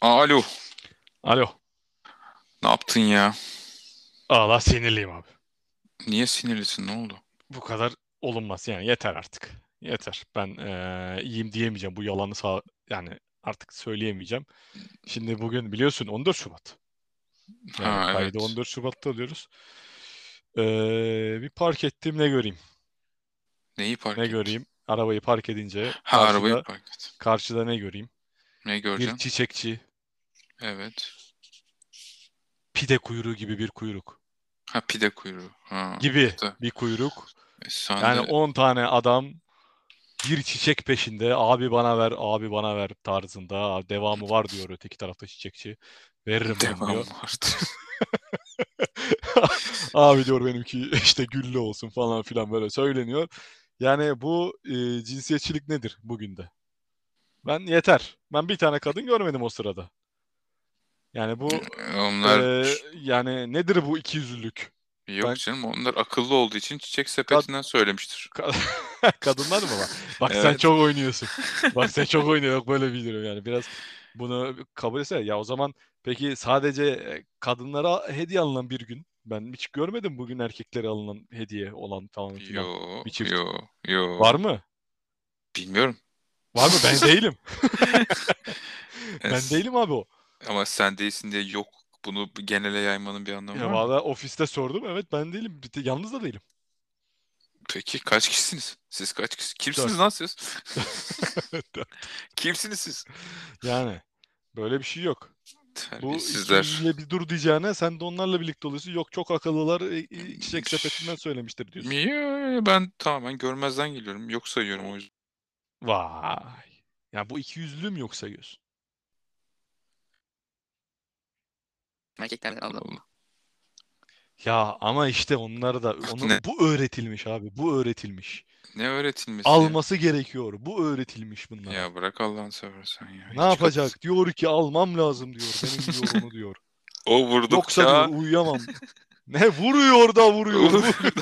Alo. Alo. Ne yaptın ya? Allah sinirliyim abi. Niye sinirlisin? Ne oldu? Bu kadar olunmaz yani yeter artık. Yeter. Ben eee, iyiyim diyemeyeceğim. Bu yalanı sağ yani artık söyleyemeyeceğim. Şimdi bugün biliyorsun 14 Şubat. Yani Ha kaydı evet. 14 Şubat'ta alıyoruz. Eee, bir park ettim ne göreyim? Neyi Ne fark ettin? göreyim? Arabayı park edince Ha arabayı karşıda fark ettim. karşıda ne göreyim? Ne Bir göreceksin? çiçekçi, Evet. pide kuyruğu gibi bir kuyruk Ha pide kuyruğu. Ha gibi işte. bir kuyruk. E, sen Yani de 10 tane adam bir çiçek peşinde abi bana ver abi bana ver tarzında devamı var diyor öteki tarafta çiçekçi. Veririm ben devam diyor. vardı. Abi diyor benimki işte güllü olsun falan filan böyle söyleniyor. Yani bu e, cinsiyetçilik nedir bugün de? Ben yeter. Ben bir tane kadın görmedim o sırada. Yani bu e, Onlar yani nedir bu ikiyüzlülük? yok Ben canım. Onlar akıllı olduğu için çiçek kad- sepetinden söylemiştir. Ka- Kadınlar mı var? Bak sen Evet. çok oynuyorsun. Bak sen çok oynuyorsun. Yok böyle biliyorum yani. Biraz bunu kabul etsene. Ya o zaman peki sadece e, kadınlara hediye alınan bir gün. Ben hiç görmedim bugün erkeklere alınan hediye olan falan filan. Yo Bir çift. yo Var yo. mı? Bilmiyorum. Var mı? Ben değilim. Ben Es- değilim abi o. Ama sen değilsin diye yok. Bunu genele yaymanın bir anlamı Ya var mı? valla ofiste sordum. Evet ben değilim. Bir de yalnız da değilim. Peki kaç kişisiniz? Siz kaç kişi? Kimsiniz Dört. lan siz? Kimsiniz siz? Yani böyle bir şey yok. Bu Terbiyesizler. ikiyüzlülüğe bir dur diyeceğine sen de onlarla birlikte oluyorsun. Yok çok akıllılar e, e, çiçek sepetinden Üf. söylemiştir diyorsun. Niye? Ben tamamen görmezden geliyorum. Yok sayıyorum o yüzden. Vay. Ya bu ikiyüzlülüğü mü yok sayıyorsun? Erkeklerden ablam. Allah. Ya ama işte onlara da onu Ne, bu öğretilmiş abi. Bu öğretilmiş. ne öğretilmesi ya? Alması gerekiyor. Bu öğretilmiş bunlara. Ya bırak Allah'ını seversen ya. Ne Hiç kadın. yapacak? Diyor ki almam lazım diyor. Benim diyor onu diyor. O Yoksa diyor vurdukça uyuyamam. Ne vuruyor da vuruyor. Vuruyor.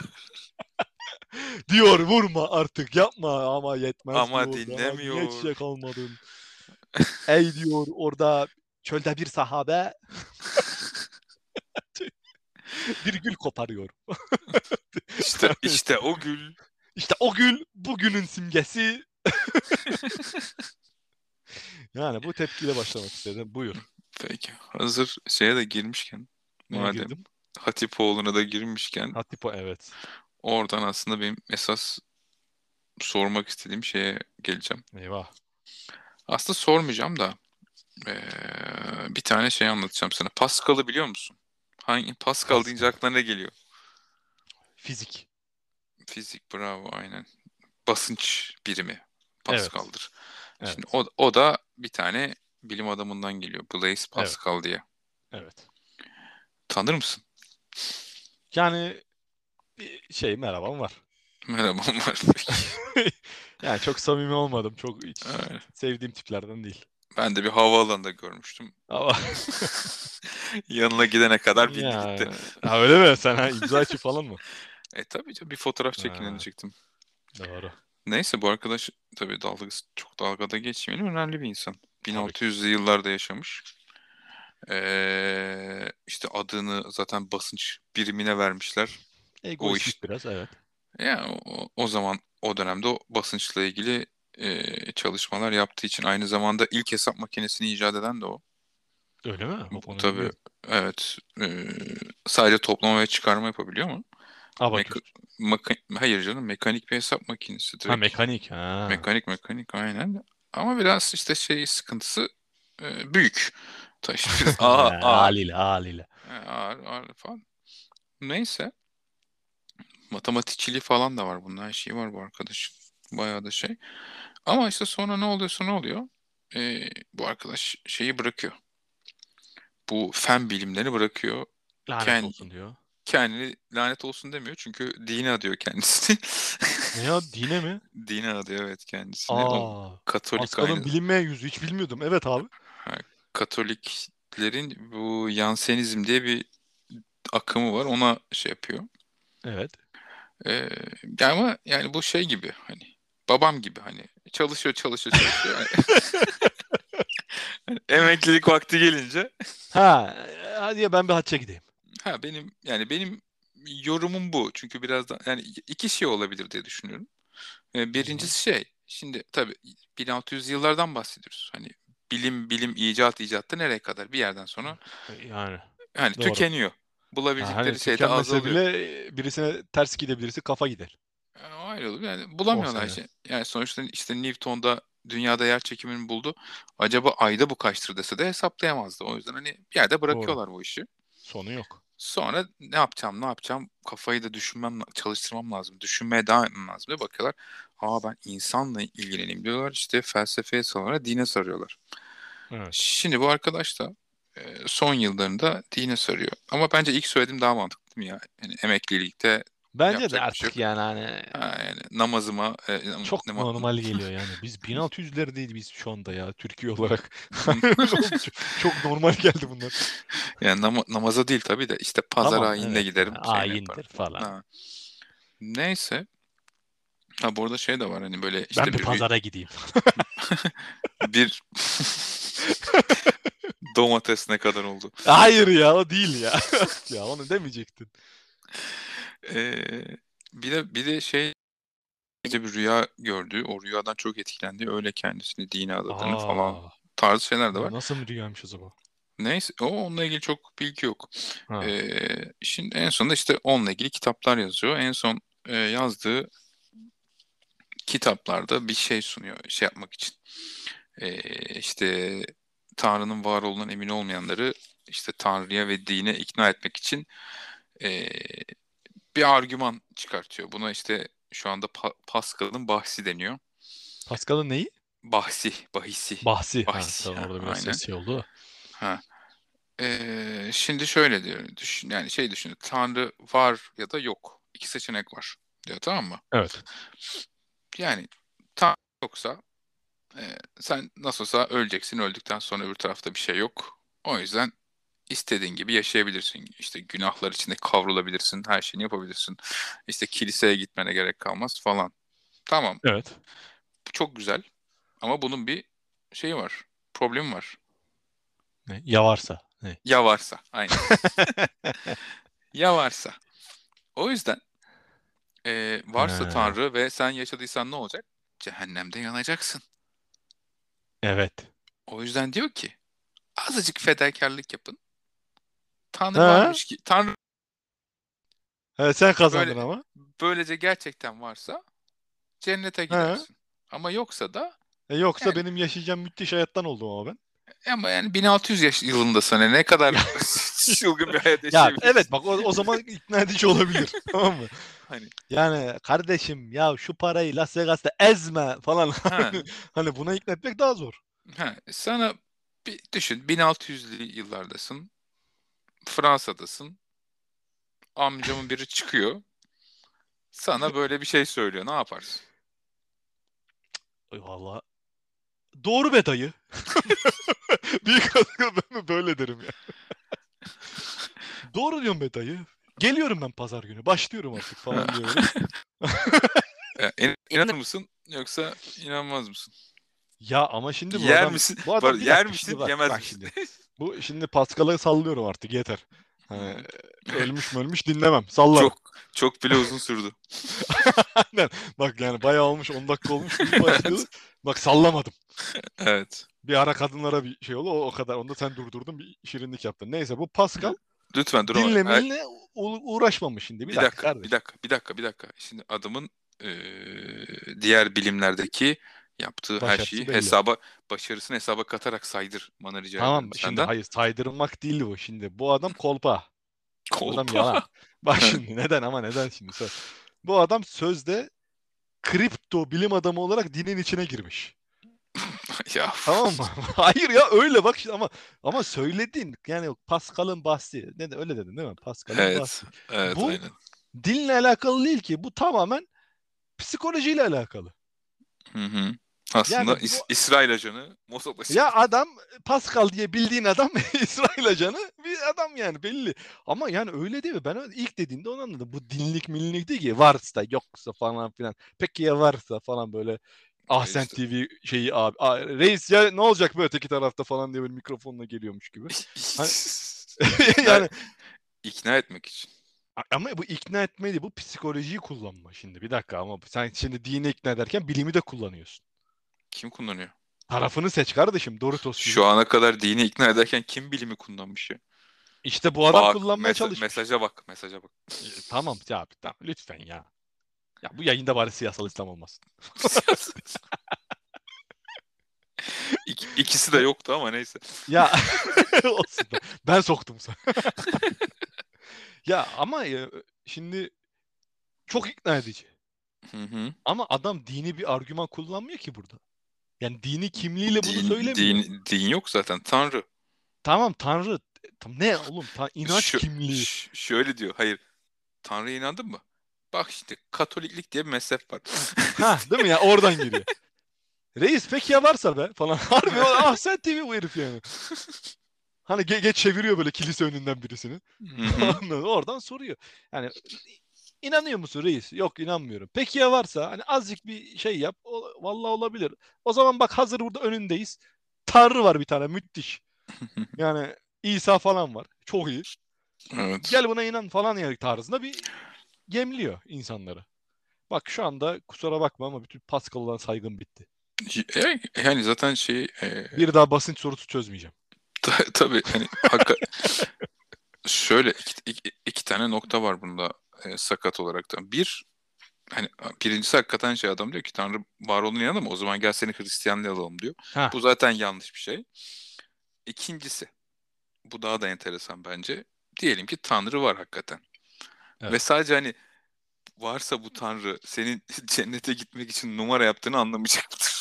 Diyor vurma artık yapma ama yetmez ama diyor. Bana niye dinlemiyor. çiçek almadın? Ey diyor orada çölde bir sahabe bir gül koparıyor. İşte işte o gül. İşte o gül bugünün simgesi. Yani bu tepkiyle başlamak istedim. Buyur. Peki. Hazır şeye de girmişken Neye madem girdim? Hatipoğlu'na da girmişken Hatipo evet. oradan aslında benim esas sormak istediğim şeye geleceğim. Eyvah. Aslında sormayacağım da eee, bir tane şey anlatacağım sana. Pascal'ı biliyor musun? Hangi Pascal deyince Pascal. aklına ne geliyor? Fizik. Fizik bravo aynen. Basınç birimi Evet. Pascal'dır. Şimdi Evet. o, o da bir tane bilim adamından geliyor. Blaise Evet. Pascal diye. Evet. Tanır mısın? Yani bir şey merhabam var. Merhaba var. Yani çok samimi olmadım. Çok hiç Aynen. sevdiğim tiplerden değil. Ben de bir havaalanında görmüştüm. Ama Yanına gidene kadar bindi gitti. ya ha, öyle mi? Sen ha, imza için falan mı? E tabii canım bir fotoğraf çekineni Ha, çektim. doğru. Neyse bu arkadaş tabii dalga, çok dalgada geçmeyelim. Önemli bir insan. Tabii ki. 1600'lü yıllarda yaşamış. Ee, işte adını zaten basınç birimine vermişler. O iş Egoistlik biraz evet. yani o, o zaman o dönemde o basınçla ilgili e, çalışmalar yaptığı için aynı zamanda ilk hesap makinesini icat eden de o. Öyle mi? Bak onu Tabii bilmiyordum. evet e, sadece toplama ve çıkarma yapabiliyor mu? Meka- Abaküs. maka- hayır canım mekanik bir hesap makinesi Ha direkt. mekanik. Ha. Mekanik mekanik aynen. Ama biraz işte şey sıkıntısı e, büyük. Taş biraz ağır, ağır, Haliyle haliyle. E, ağır, ağır falan. Neyse. Matematikçiliği falan da var. Bunun her şeyi var bu arkadaş. Bayağı da şey. Ama işte sonra ne oluyorsa ne oluyor. E, bu arkadaş şeyi bırakıyor. Bu fen bilimlerini bırakıyor. Lanet Kend, olsun diyor. kendini lanet olsun demiyor. Çünkü dine adıyor kendisini. Ne ya dine mi? Dine adıyor evet kendisini. O Aa. Katolik Pascal'ın aynı. bilinmeyen yüzü hiç bilmiyordum. Evet abi. Ha, Katoliklerin bu Jansenizm diye bir akımı var. Ona şey yapıyor. Evet. Ee, yani ama yani bu şey gibi hani babam gibi hani çalışıyor çalışıyor çalışıyor. Emeklilik vakti gelince. Ha, hadi ya ben bir hacca gideyim. Ha benim yani benim yorumum bu. Çünkü birazdan yani iki şey olabilir diye düşünüyorum. Ee, Birincisi şey şimdi tabii 1600 yıllardan bahsediyoruz. Hani bilim bilim icat icatta nereye kadar bir yerden sonra Yani. hani Doğru. tükeniyor. Bulabildikleri hani şey de tükenmese azalıyor. bile e, birisine ters gidebilirse kafa gider. Yani Ee, o ayrı olur. Yani bulamıyorlar sene. işte. Yani sonuçta işte Newton'da dünyada yer çekimini buldu. Acaba ayda bu kaçtır dese de hesaplayamazdı. O yüzden hani bir yerde bırakıyorlar bu işi. Sonu yok. Sonra ne yapacağım ne yapacağım kafayı da düşünmem çalıştırmam lazım düşünmeye devam etmem lazım diye bakıyorlar. Aa ben insanla ilgileneyim diyorlar işte felsefeye sarıyorlar dine sarıyorlar. Evet. Şimdi bu arkadaş da e, son yıllarında dine sarıyor ama bence ilk söylediğim daha mantıklı değil mi ya? Yani emeklilikte Bence de Yapacak bir artık şey yok. yani hani ha, yani namazıma e, nam- çok nama- normal geliyor yani. Biz 1600'ler değil biz şu anda ya Türkiye olarak. Hmm. çok normal geldi bunlar. yani nama- namaza değil tabii de işte pazar Tamam, ayinine evet. giderim. şeyini yaparım. Ayindir falan. Ha. Neyse. Ha bu arada şey de var hani böyle işte ben bir bir- pazara gideyim. Bir domates ne kadar oldu? Hayır ya o değil ya. ya onu demeyecektin. Ee, bir de bir de şey gece bir rüya gördü. O rüyadan çok etkilendi. Öyle kendisini dine adadığını falan Aa, tarz şeyler de var. Nasıl bir rüyaymış o zaman? Neyse o onunla ilgili çok bilgi yok. Ha. Ee, şimdi en sonunda işte onunla ilgili kitaplar yazıyor. En son e, yazdığı kitaplarda bir şey sunuyor şey yapmak için. Ee, işte Tanrı'nın var olduğundan emin olmayanları işte Tanrı'ya ve dine ikna etmek için e, bir argüman çıkartıyor. Buna işte şu anda Pa- Pascal'ın bahsi deniyor. Pascal'ın neyi? Bahsi, bahisi. Bahsi. Ha, Bahsi, tamam, ha, orada biraz aynen. ses şey oldu. Ha. Ee, şimdi şöyle diyor. Düşün, yani şey düşünün. Tanrı var ya da yok. İki seçenek var diyor tamam mı? Evet. Yani Tanrı yoksa e, sen nasıl olsa öleceksin. Öldükten sonra öbür tarafta bir şey yok. O yüzden istediğin gibi yaşayabilirsin. İşte günahlar içinde kavrulabilirsin. Her şeyini yapabilirsin. İşte kiliseye gitmene gerek kalmaz falan. Tamam. Evet. Bu çok güzel. Ama bunun bir şeyi var. Problemi var. Ne? Ya varsa. Ne? Ya varsa. Aynen. ya varsa. O yüzden e, varsa He. Tanrı ve sen yaşadıysan ne olacak? Cehennemde yanacaksın. Evet. O yüzden diyor ki azıcık fedakarlık yapın. Tanrı He. varmış ki Tanrı He, sen kazandın Böyle- ama. böylece gerçekten varsa cennete gidersin. Ama yoksa da E, yoksa Yani- benim yaşayacağım müthiş hayattan oldum ama ben. ama yani 1600 yaş yılında sana ne kadar çılgın bir hayat Ya yaşayabilirsin. evet bak o, o zaman ikna edici olabilir. tamam mı? Hani. Yani kardeşim ya şu parayı Las Vegas'ta ezme falan. Ha. hani buna ikna etmek daha zor. Ha, sana bir düşün 1600'lü yıllardasın. Fransa'dasın. Amcamın biri çıkıyor. Sana böyle bir şey söylüyor. Ne yaparsın? Ay valla. Doğru be dayı. Büyük adamım ben mi böyle derim ya. Doğru diyorsun be dayı. Geliyorum ben pazar günü. Başlıyorum artık falan diyorum. Ya, E, in- inanır mısın yoksa inanmaz mısın? Ya ama şimdi bu Yer adam, misin? bu adam Pardon, bir yer dakika misin, şimdi bak, yemez bak misin? şimdi. Bu şimdi Paskal'ı sallıyorum artık yeter. Hani, ölmüş mü ölmüş dinlemem. Sallarım. E, Çok çok bile uzun sürdü. Bak yani bayağı olmuş 10 dakika olmuş. bir başlıyoruz. Bak sallamadım. Evet. Bir ara kadınlara bir şey oldu o, o kadar. Onda sen durdurdun bir şirinlik yaptın. Neyse bu Pascal Lütfen dur. ama- Ay, dinlemeyle u- uğraşmamış şimdi. Bir, bir dakika, dakika, kardeşim. bir dakika, bir dakika, bir dakika. Şimdi adamın eee, diğer bilimlerdeki yaptığı her Başarısı şeyi belli. hesaba başarısını hesaba katarak saydır bana rica Tamam ederim şimdi senden. hayır saydırmak değil bu şimdi. Bu adam kolpa. Bu adam Kolpa. yalan. Bak şimdi neden ama neden şimdi sor. Bu adam sözde kripto bilim adamı olarak dinin içine girmiş. Ya. Tamam mı? Hayır ya öyle bak şimdi ama ama söyledin yani Pascal'ın bahsi. Ne de öyle dedin değil mi? Pascal'ın bahsi. Evet. Evet, Bu- aynen. Dinle alakalı değil ki. Bu tamamen psikolojiyle alakalı. Hı hı. Aslında Yani bu- İs- İsrail ajanı Mossad ajanı. Ya adam e, Pascal diye bildiğin adam İsrail ajanı bir adam yani belli. Ama yani öyle değil mi? Ben öyle- ilk dediğinde onu anladım. Bu dinlik millik değil ki varsa yoksa falan filan. Peki ya varsa falan böyle Ahsen işte. TV şeyi abi. Aa, reis ya ne olacak böyle öteki tarafta falan diye böyle mikrofonla geliyormuş gibi. Hani- yani İkna etmek için. ama bu ikna etme değil, bu psikolojiyi kullanma şimdi. Bir dakika ama sen şimdi dini ikna ederken bilimi de kullanıyorsun. Kim kullanıyor? Tarafını seç kardeşim Doritos gibi. Şu ana kadar dini ikna ederken kim bilimi kullanmış ya? İşte bu adam Bak, kullanmaya mesa- çalışmış. Mesaja bak, mesaja bak. E, tamam ya abi, tamam lütfen ya. Ya bu yayında bari siyasal İslam olmasın. İk- İkisi de yoktu ama neyse. Ya olsun be. Ben soktum sana. ya ama e, şimdi çok ikna edici. Hı hı. Ama adam dini bir argüman kullanmıyor ki burada. Yani dini kimliğiyle E, bunu Din, söylemiyor. din, din yok zaten. Tanrı. Tamam Tanrı tam ne oğlum ta, inanç Şu- kimliği. Ş- şöyle diyor. Hayır. Tanrı'ya inandın mı? Bak işte Katoliklik diye bir mezhep var. ha değil mi ya oradan giriyor. Reis peki ya varsa be falan. Harbi o- ah sen TV bu herif yani. Hani ge- geç çeviriyor böyle kilise önünden birisini. Hı hı. Anladın mı? Oradan soruyor. Yani inanıyor musun reis? Yok inanmıyorum. Peki ya varsa hani azıcık bir şey yap. O- vallahi olabilir. O zaman bak hazır burada önündeyiz. Tanrı var bir tane müthiş. Yani İsa falan var. Çok iyi. evet. Gel buna inan falan yani tarzında bir gemliyor insanları. Bak şu anda kusura bakma ama bütün Pascal'dan saygım bitti. E, Yani zaten şey e, Bir daha basınç sorusu çözmeyeceğim. Ta- tabii hani hakka- şöyle iki, iki- iki tane nokta var bunda e, sakat olarak da. Bir hani birincisi hakikaten şey adam diyor ki Tanrı var olduğunu inanır mı? O zaman gel seni Hristiyanlayalım diyor. Ha. Bu zaten yanlış bir şey. İkincisi bu daha da enteresan bence. Diyelim ki Tanrı var hakikaten. Evet. Ve sadece hani varsa bu Tanrı senin cennete gitmek için numara yaptığını anlamayacaktır.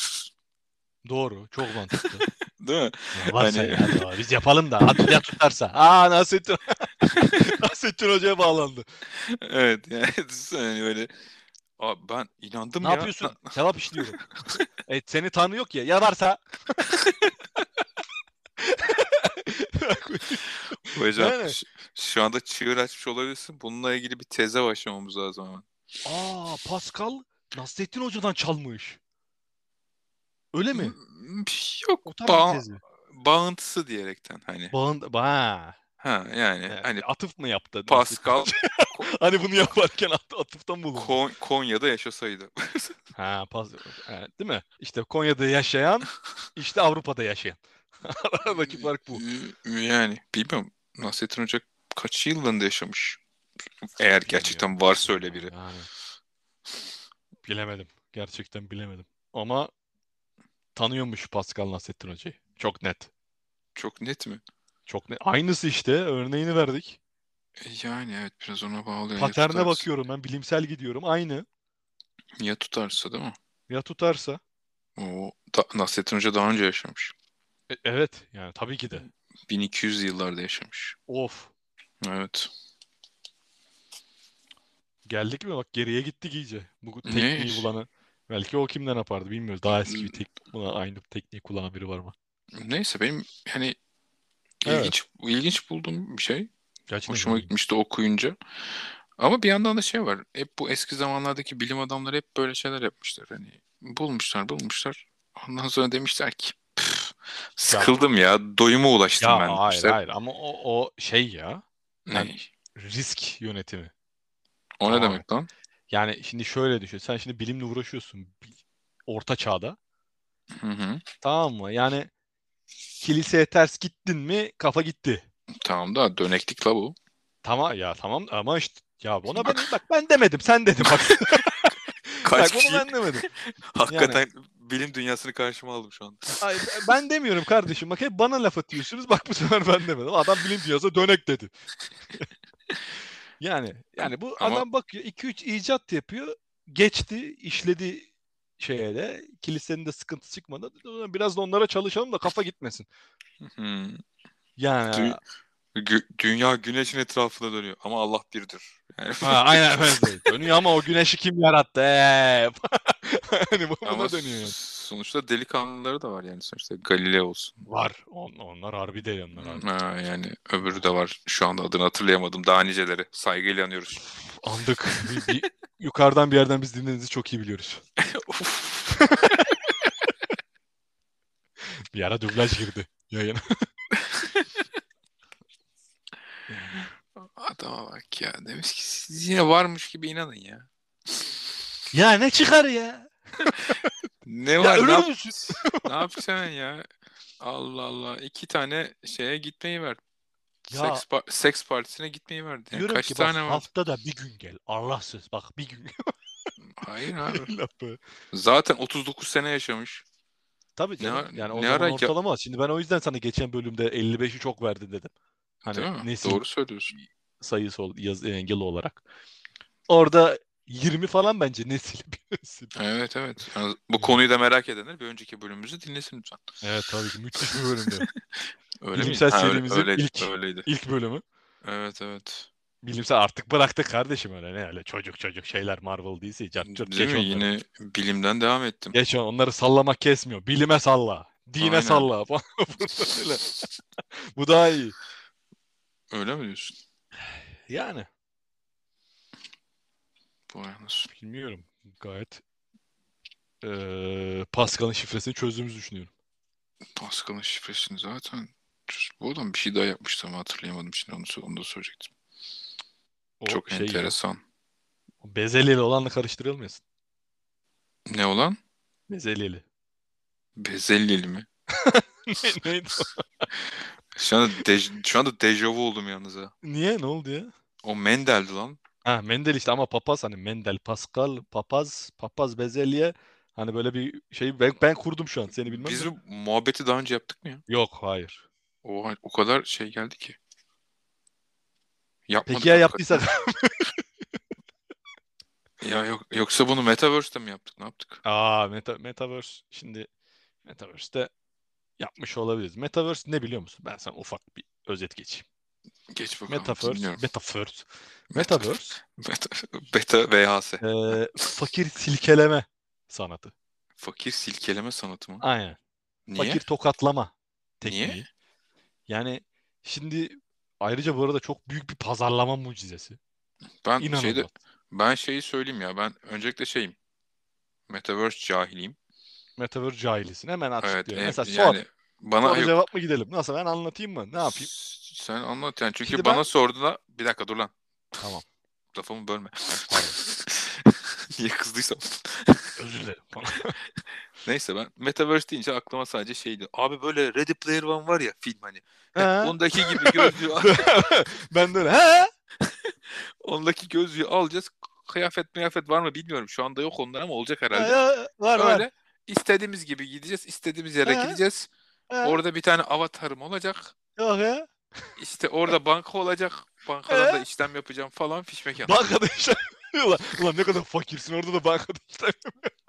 Doğru. Çok mantıklı. Değil mi? Ya varsa Hani- ya, doğru. biz yapalım da. At, ya tutarsa. Aa Nasrettin, Nasrettin Hoca'ya bağlandı. Evet yani düşünsene hani böyle Abi ben inandım Ne ya. yapıyorsun? Sevap işliyorum. e, seni tanrı yok ya. Ya varsa. Hocam Yani. ş- şu anda çığır açmış olabilirsin. Bununla ilgili bir teze başlamamız lazım hemen. Aa Pascal Nasrettin Hoca'dan çalmış. Öyle mi? M- şey Yok. O bağ- tarz bir tez mi? bağıntısı diyerekten hani. Bağın, ba, Ha yani Evet, hani atıf mı yaptı? Nasrettin Pascal Hani bunu yaparken at- atıftan bulundu. Kon- Konya'da yaşasaydı. ha, pas, ha, değil mi? İşte Konya'da yaşayan, işte Avrupa'da yaşayan. Aradaki fark bu. Yani bilmiyorum. Nasrettin Hoca kaç yılında yaşamış? Eğer gerçekten varsa öyle biri. Yani. Bilemedim. Gerçekten bilemedim. Ama tanıyormuş Pascal Nasrettin Hoca'yı. Çok net. Çok net mi? Çok net. Aynısı işte. Örneğini verdik. E, Yani evet biraz ona bağlı. Ya Paterne tutarsa- bakıyorum ben. Bilimsel gidiyorum. Aynı. Ya tutarsa değil mi? Ya tutarsa. O da, Nasrettin Hoca daha önce yaşamış. E- evet. Yani tabii ki de. 1200 yıllarda yaşamış. Of. Evet. Geldik mi? Bak geriye gittik iyice. Bu Ne? tekniği bulanı. Belki o kimden yapardı bilmiyoruz. Daha eski bir teknik. Buna aynı tekniği kullanan biri var mı? Neyse benim hani Evet. ilginç ilginç bulduğum bir şey. Gerçekten Hoşuma bilmiyorum. gitmişti okuyunca. Ama bir yandan da şey var. Hep bu eski zamanlardaki bilim adamları hep böyle şeyler yapmışlar. Hani bulmuşlar, bulmuşlar. Ondan sonra demişler ki "Püf, sıkıldım ya, doyuma ulaştım Ya ben hayır demişler. hayır ama o, o şey ya Ne? risk yönetimi. O ne Tamam. demek lan? Yani şimdi şöyle düşün. Sen şimdi bilimle uğraşıyorsun. Bi- Orta çağda. Hı hı. Tamam mı? Yani kiliseye ters gittin mi kafa gitti. Tamam da döneklik la bu. Tamam ya tamam ama işte ya ona ben bak ben demedim sen dedin bak. Kaç bak kişi onu ben demedim. hakikaten bilim dünyasını karşıma aldım şu anda. Ay, ben demiyorum kardeşim bak hep bana laf atıyorsunuz bak bu sefer ben demedim. Adam bilim piyasa dönek dedi. yani yani bu Ama- adam bakıyor 2 3 icat yapıyor. Geçti, işledi şeye de kilisenin de sıkıntı çıkmadı. Biraz da onlara çalışalım da kafa gitmesin. Hı. Yani Dü- Gü- dünya güneşin etrafında dönüyor ama Allah birdir. Yani Ha, aynen öyle. Dönüyor ama o güneşi kim yarattı? Eee. hani bu ama buna dönüyor. yani. s- sonuçta delikanlıları da var yani sonuçta Galileo olsun. Var. On, onlar harbi değil onlar harbi. Ha, yani öbürü de var. Şu anda adını hatırlayamadım. Daha niceleri. Saygıyla anıyoruz. Andık. Bir- bir- yukarıdan bir yerden biz dinlediğinizi çok iyi biliyoruz. Bir ara dublaj girdi yayına. Adama bak ya. Demiş ki siz yine varmış gibi inanın ya. ya ne çıkar ya? Ne var? ne, ölür yap- müsün? ne yapacaksın ya? Allah Allah. iki tane şeye gitmeyi ver. Ya- Seks, par- seks partisine gitmeyi verdi. Yani Diyorum kaç ki tane bak var? haftada bir gün gel. Allahsız bak bir gün. Hayır abi. Lafı. Zaten 39 sene yaşamış. Tabii canım. ara- yani ne o zaman ara- ortalama. Şimdi ben o yüzden sana geçen bölümde 55'i çok verdin dedim. Hani Değil mi? nesil Doğru söylüyorsun. sayısı ol, yaz, e, yıl olarak. Orada 20 falan bence nesil bir nesil. Evet evet. Yani bu konuyu da merak edenler bir önceki bölümümüzü dinlesin lütfen. Evet tabii ki müthiş bir bölümdü. Öyle mi? Bilimsel Ha, öyle- serimizin öyleydi, ilk- öyleydi. İlk bölümü. Evet evet. Bilimsel artık bıraktık kardeşim öyle ne öyle çocuk çocuk şeyler Marvel değilse cart curt Değil geç mi? onları. Yine bilimden devam ettim. Geç on- onları sallamak kesmiyor. Bilime salla. Dine Aynen. salla falan. Öyle. Bu daha iyi. Öyle mi diyorsun? Yani Bu yalnız. bilmiyorum. Gayet eee Pascal'ın şifresini çözdüğümüzü düşünüyorum. Pascal'ın şifresini zaten bu adam bir şey daha yapmıştı ama hatırlayamadım şimdi onu, onu da söyleyecektim. O Çok şey ya, enteresan. o Bezelyeli olanla karıştırılmıyorsun. Ne olan? Bezelyeli. Bezelyeli mi? Ne- Neydi o? Şu anda, dej- şu anda dejavu oldum yalnız ha. Niye? Ne oldu ya? O Mendel'di lan. Ha Ah, Mendel işte ama papaz hani Mendel, Pascal, papaz, papaz Bezelye hani böyle bir şey ben, ben kurdum şu an seni bilmem Biz de. bu muhabbeti daha önce yaptık mı ya? Yok hayır. Oha, o kadar şey geldi ki. Yapmadık Peki ya hakikaten. yaptıysak? Ya yok, yoksa bunu Metaverse'te mi yaptık? Ne yaptık? Aa meta, Metaverse şimdi Metaverse'de yapmış olabiliriz. Metaverse ne biliyor musun? Ben sana ufak bir özet geçeyim. Geç bakalım. Metaverse, dinliyorum. Metaverse, Meta- Metaverse Beta, beta VHS. eee, fakir silkeleme sanatı. Fakir silkeleme sanatı mı? Aynen. Niye? Fakir tokatlama tekniği. Niye? Yani şimdi ayrıca bu arada çok büyük bir pazarlama mucizesi. Ben İnanılmaz. şeyde ben şeyi söyleyeyim ya. Ben öncelikle şeyim. Metaverse cahiliyim. Metaverse cahilisin. Hemen Evet. açıklıyorum. e, Mesela sor. yani bana Soru yok. cevap mı gidelim? Nasıl ben anlatayım mı? Ne yapayım? S- Sen anlat yani. Çünkü Şimdi ben- bana sorduğunda bir dakika dur lan. Tamam. Lafımı bölme. Pardon. Niye kızdıysam. Özür dilerim. Neyse ben Metaverse deyince aklıma sadece şeydi. Abi böyle Ready Player One var ya film hani. Ha? Ondaki gibi gözlüğü ben de öyle. Ha? ondaki gözlüğü alacağız. Kıyafet kıyafet var mı bilmiyorum. Şu anda yok onlar ama olacak herhalde. Ha, var var. Öyle istediğimiz gibi gideceğiz, istediğimiz yere Ha. gideceğiz. Ha, Orada bir tane avatarım olacak. Yok ya. İşte orada banka olacak. Bankadan da Ha. işlem yapacağım falan fişmek yap. Bankada işlem. Ulan, ulan ne kadar fakirsin orada da bankada işlem.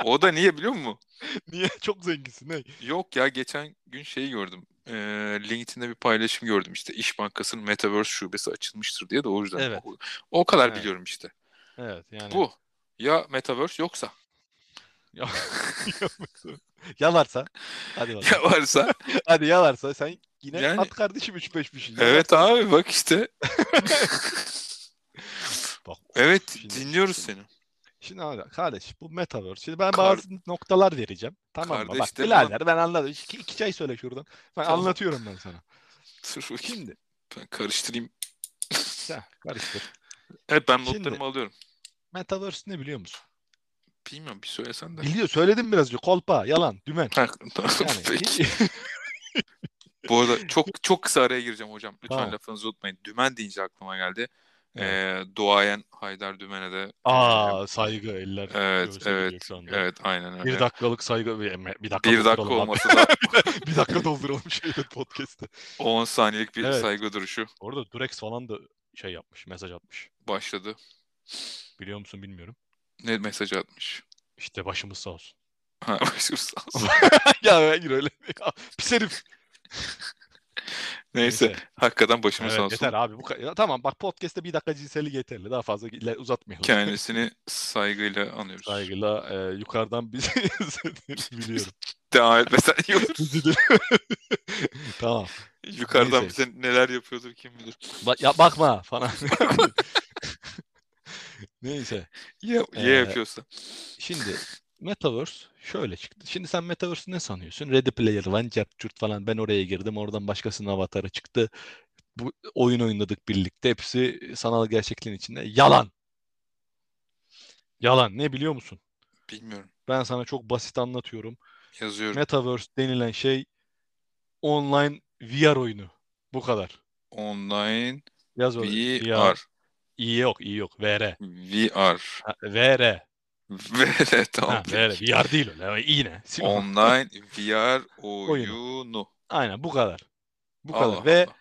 O da niye biliyor musun? Niye? Çok zenginsin. Hey. Yok ya geçen gün şeyi gördüm. Ee, LinkedIn'de bir paylaşım gördüm işte İş Bankası'nın Metaverse şubesi açılmıştır diye de o yüzden. Evet. O, o kadar Evet. biliyorum işte. Evet yani. Bu. Ya Metaverse yoksa. Ya, yalarsa. Hadi bakalım. Ya varsa. Hadi yalarsa sen yine Yani- at kardeşim 3-5 bir şey. Evet abi bak işte. Bak, Evet Şimdi- dinliyoruz seni. Şimdi abi kardeş bu Metaverse. Şimdi ben Kar- bazı noktalar vereceğim. Tamam mı? Kardeş Bak de birader ben anladım. İki, iki çay söyle şuradan. Ben Tamam. anlatıyorum ben sana. Dur bakayım Şimdi ben karıştırayım. sen karıştır. Evet ben Şimdi- notlarımı alıyorum. Metaverse ne biliyor musun? Bilmiyorum bir söylesen de. Biliyor. Söyledim biraz önce. Kolpa, yalan, dümen. Ha, tamam, Yani peki. Bu arada çok çok kısa araya gireceğim hocam. Lütfen Tamam. lafınızı unutmayın. Dümen deyince aklıma geldi. Evet. Ee, duayen Haydar Dümen'e de Aa saygı eller. Evet, göğsüne geliyor evet, şu anda. evet aynen öyle. Bir dakikalık saygı bir, bir dakika Bir dakika dolduralım abi. olması da bir dakika dolduralım şeyde podcast'te. 10 saniyelik bir Evet. saygı duruşu Orada Durex falan da şey yapmış, mesaj atmış. başladı. Biliyor musun bilmiyorum. Ne mesaj atmış? İşte başımız sağ olsun. Ha, başım sağ olsun. ya hayır öyle. Ya, Pis herif. Neyse, hakikaten başımız Evet, sağ olsun. yeter abi. Bu ka- ya, tamam bak podcast'te bir dakika cinsellik yeterli. Daha fazla ile- uzatmayalım. Kendisini saygıyla anıyoruz. Saygıyla e, yukarıdan bizi izlediğini biliyorum. Devam etmesen iyi olur. Bizi de- tamam. Yukarıdan Neyse. bize neler yapıyordur kim bilir. Bak ya bakma falan. Neyse. Ya, Ee, ya yapıyorsa. Şimdi Metaverse şöyle çıktı. Şimdi sen Metaverse'ü ne sanıyorsun? Ready Player One, Cart Curt falan. Ben oraya girdim. Oradan başkasının avatarı çıktı. Bu oyun oynadık birlikte. Hepsi sanal gerçekliğin içinde. Yalan. Yalan. Ne biliyor musun? Bilmiyorum. Ben sana çok basit anlatıyorum. Yazıyorum. Metaverse denilen şey online VR oyunu. Bu kadar. Online Yaz öyle. VR. İyi yok, iyi yok. VR. VR. Ha, VR. VR Ha, tamam. VR. VR değil öyle. İyi ne? Sil onu. Online VR Oyunu. oyunu. Aynen bu kadar. Bu kadar. Allah Ve Allah.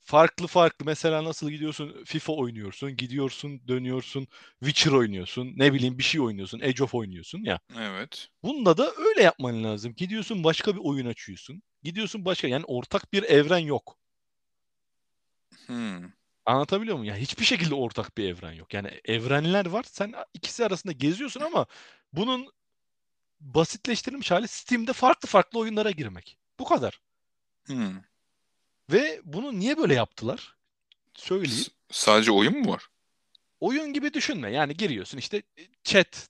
farklı farklı mesela nasıl gidiyorsun FIFA oynuyorsun, gidiyorsun, dönüyorsun, Witcher oynuyorsun, ne bileyim bir şey oynuyorsun, Age of oynuyorsun ya. Evet. Bunda da öyle yapman lazım. Gidiyorsun başka bir oyun açıyorsun. Gidiyorsun başka yani ortak bir evren yok. Hmm. Anlatabiliyor muyum? Ya hiçbir şekilde ortak bir evren yok. Yani evrenler var. Sen ikisi arasında geziyorsun ama bunun basitleştirilmiş hali Steam'de farklı farklı oyunlara girmek. Bu kadar. Hmm. Ve bunu niye böyle yaptılar? Söyleyeyim. S- sadece oyun mu var? oyun gibi düşünme. Yani giriyorsun işte e, chat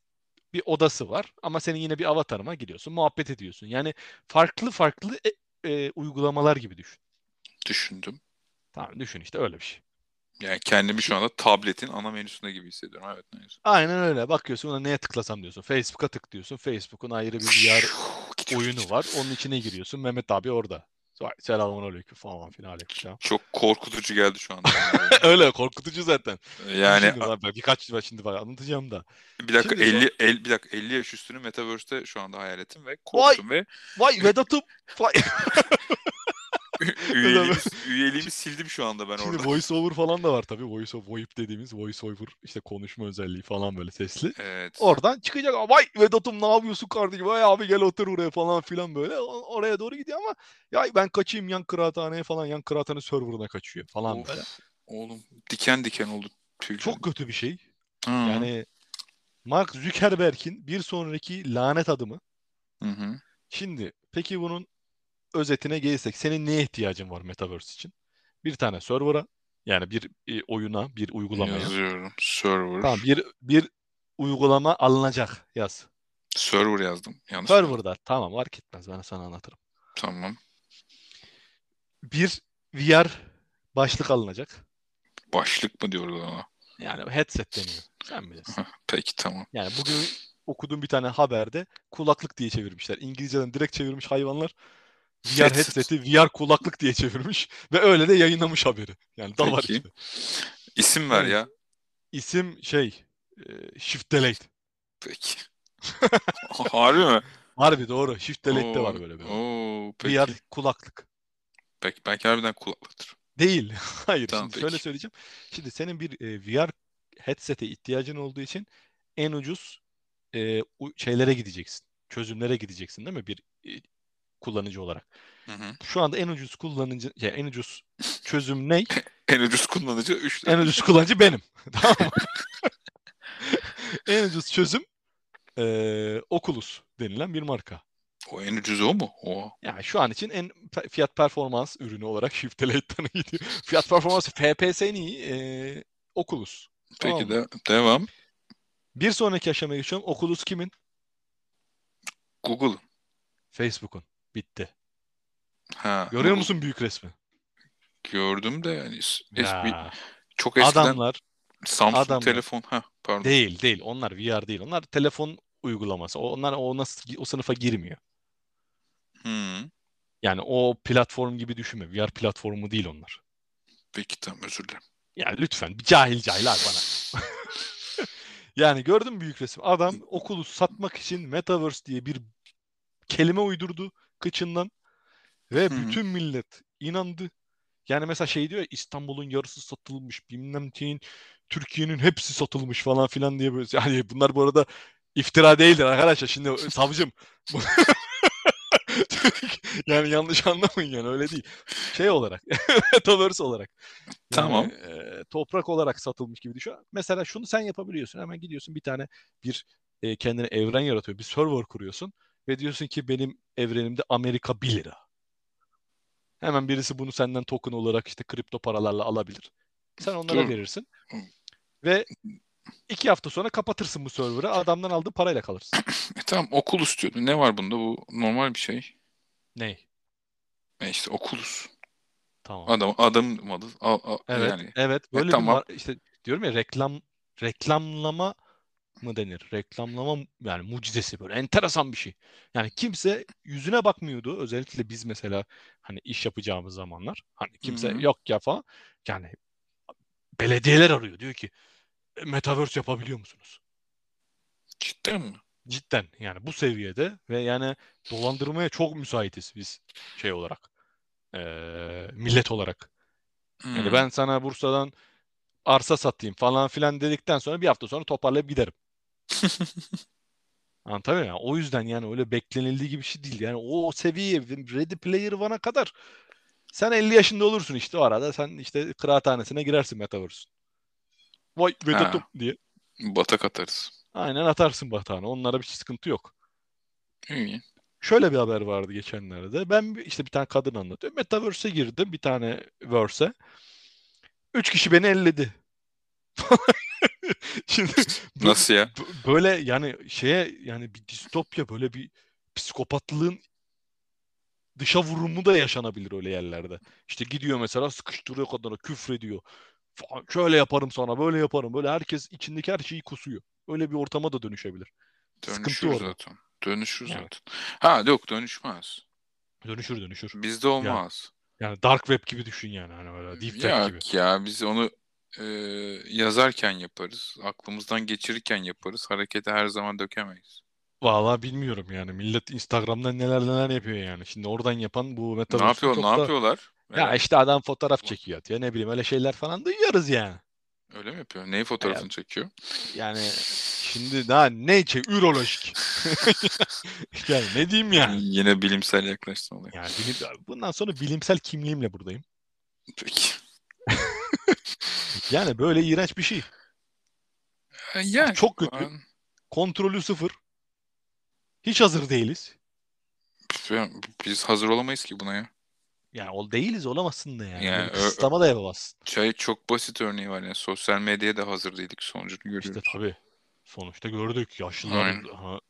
bir odası var ama senin yine bir avatarına giriyorsun, muhabbet ediyorsun. Yani farklı farklı e- e, uygulamalar gibi düşün. Düşündüm. Tamam düşün işte öyle bir şey. Yani kendimi şu anda tabletin ana menüsünde gibi hissediyorum. Evet neyse. Aynen öyle. Bakıyorsun ona neye tıklasam diyorsun. Facebook'a tık diyorsun. Facebook'un ayrı bir VR Gidiyoruz, oyunu gidiyoruz. var. Onun içine giriyorsun. Mehmet abi orada. Selamun aleyküm falan filan aleyküm Çok korkutucu geldi şu anda. Ee, Öyle korkutucu zaten. yani Şimdi bak, birkaç şimdi bak anlatacağım da. bir dakika Şimdi 50 el- bir dakika 50 yaş üstünü metaverse'te şu anda hayal ettim ve korktum ve Vay Vedat'ım. Vay. üyeliğimi, üyeliğimi sildim şu anda ben Şimdi orada. voiceover falan da var tabii. Voice VoIP dediğimiz voiceover işte konuşma özelliği falan böyle sesli. Evet. Oradan çıkacak. Vay Vedat'ım ne yapıyorsun kardeşim? Vay abi gel otur oraya falan filan böyle. O- Oraya doğru gidiyor ama ya ben kaçayım yan kıraathaneye falan yan kıraathane serverına kaçıyor falan Of, böyle. oğlum diken diken oldu tüylerim. Çok kötü bir şey. Hı. Yani Mark Zuckerberg'in bir sonraki lanet adımı. Hı hı. Şimdi peki bunun özetine gelirsek senin neye ihtiyacın var Metaverse için? Bir tane server'a yani bir e, oyuna, bir Ee, uygulamaya. Yazıyorum. Server. Tamam bir bir uygulama alınacak yaz. Server yazdım. Yanlış mı yazdım? Server'da tamam fark etmez ben sana anlatırım. Tamam. Bir VR başlık alınacak. Başlık mı diyoruz ona? Yani headset deniyor. Sen bilirsin. Peki tamam. Yani bugün okuduğum bir tane haberde kulaklık diye çevirmişler. İngilizceden direkt çevirmiş hayvanlar. VR Headset. headset'i VR kulaklık diye çevirmiş ve öyle de yayınlamış haberi. Yani da var Peki. işte. İsim ver Evet. ya. İsim şey e, Shift Delete. Peki. Harbi mi? Harbi doğru. Shift Delete de Oo, var böyle bir. Oo, peki. VR kulaklık. Peki. Belki harbiden kulaklıktır. Değil. Hayır. Tamam, şimdi şöyle peki. söyleyeceğim. Şimdi senin bir e, VR headset'e ihtiyacın olduğu için en ucuz e, u- şeylere gideceksin. Çözümlere gideceksin değil mi? Bir e, kullanıcı olarak. Hı hı. Şu anda en ucuz kullanıcı ya en ucuz çözüm ne? En ucuz kullanıcı 3 En ucuz kullanıcı benim. Tamam mı? En ucuz çözüm e, Oculus denilen bir marka. O en ucuz o mu? O. Yani şu an için en pe- fiyat performans ürünü olarak Shift Elite'den iyi diyor. Fiyat performans FPS'nin iyi e, Oculus. Tamam Peki mı? de devam. Bir sonraki aşamaya geçiyorum. Oculus kimin? Google. Facebook'un. Bitti. Ha. Görüyor Google. musun büyük resmi? Gördüm de yani es- es- bir- Ya, çok eskiden adamlar Samsung adamlar. telefon. Ha pardon. değil değil. Onlar VR değil. Onlar telefon uygulaması. Onlar o nasıl o sınıfa girmiyor. Hı. Yani o platform gibi düşünme. VR platformu değil onlar. Peki tamam özür dilerim. Yani lütfen bir cahil cahil abi bana. Yani gördün mü büyük resim? Adam Oculus satmak için Metaverse diye bir kelime uydurdu kıçından ve Hı hı. bütün millet inandı. Yani mesela şey diyor ya, İstanbul'un yarısı satılmış, bilmem neyin, Türkiye'nin hepsi satılmış falan filan diye böyle. Yani bunlar bu arada iftira değildir arkadaşlar. Şimdi savcım yani yanlış anlamayın yani öyle değil. Şey olarak, Metaverse olarak. Yani, Tamam. e, toprak olarak satılmış gibi düşün. Mesela şunu sen yapabiliyorsun. Hemen gidiyorsun bir tane bir e, kendine evren yaratıyor. Bir server kuruyorsun ve diyorsun ki benim evrenimde Amerika 1 lira. Hemen birisi bunu senden token olarak işte kripto paralarla alabilir. Sen onlara Dur. verirsin. Hı. Ve iki hafta sonra kapatırsın bu server'ı. Adamdan aldığın parayla kalırsın. E tamam okul istiyordu. Ne var bunda? Bu normal bir şey. Ney? E işte okulus. Tamam. Adam adamın adı. A, a- Evet, yani evet. Böyle bir E, tamam. var- işte diyorum ya reklam reklamlama mı denir? Reklamlama mu- yani mucizesi böyle enteresan bir şey. Yani kimse yüzüne bakmıyordu. Özellikle biz mesela hani iş yapacağımız zamanlar. Hani kimse Hı hı. yok ya falan. Yani belediyeler arıyor. Diyor ki "E, Metaverse yapabiliyor musunuz? cidden mi? Cidden yani bu seviyede ve yani dolandırmaya çok müsaitiz biz şey olarak. Eee, millet olarak. Yani Hmm. ben sana Bursa'dan arsa satayım falan filan dedikten sonra bir hafta sonra toparlayıp giderim. Anlatabiliyor muyum? O yüzden yani öyle beklenildiği gibi bir şey değil. Yani o seviye Ready Player One'a kadar sen 50 yaşında olursun işte o arada. Sen işte kıraathanesine girersin Metaverse'ün. Vay Vedat'ım diye. Batak atarız. Aynen atarsın batağını. Onlara bir sıkıntı yok. İyi. Şöyle bir haber vardı geçenlerde. Ben bir- işte bir tane kadın anlatıyor. Metaverse'e girdim bir tane verse. Üç kişi beni elledi. Şimdi bu- Nasıl ya? bu- böyle yani şeye yani bir distopya böyle bir psikopatlığın dışa vurumu da yaşanabilir öyle yerlerde. İşte gidiyor mesela sıkıştırıyor kadına küfrediyor. Falan, Şöyle yaparım sana böyle yaparım. Böyle herkes içindeki her şeyi kusuyor. Öyle bir ortama da dönüşebilir. Sıkıntı Dönüşür orada. zaten. Dönüşür Yani. zaten. Ha yok dönüşmez. Dönüşür dönüşür. Bizde olmaz. Yani dark web gibi düşün yani hani böyle deep web gibi. Yok ya biz onu e, yazarken yaparız. Aklımızdan geçirirken yaparız. Harekete her zaman dökemeyiz. Vallahi bilmiyorum yani millet Instagram'da neler neler yapıyor yani. Şimdi oradan yapan bu ne metaverse'ü yapıyor? çok Ne da yapıyorlar? ya Ee, işte adam fotoğraf çekiyor atıyor ne bileyim öyle şeyler falan duyuyoruz yani. Öyle mi yapıyor? Neyi fotoğrafını çekiyor? Yani şimdi daha ne şey ürolojik. yani ne diyeyim yani. Yine bilimsel yaklaştım olaya. Yani bilim- bundan sonra bilimsel kimliğimle buradayım. Peki. Yani böyle iğrenç bir şey. Ee, Yani Çok kötü. ben- Kontrolü sıfır. Hiç hazır değiliz. ben- biz hazır olamayız ki buna ya. Yani ol değiliz olamazsın da yani. Yani Böyle ö- kısıtlama da yapamazsın. Çay çok basit örneği var. Yani sosyal medyaya da hazır değildik sonucunu İşte görüyoruz. tabii. Sonuçta gördük yaşlıların ha,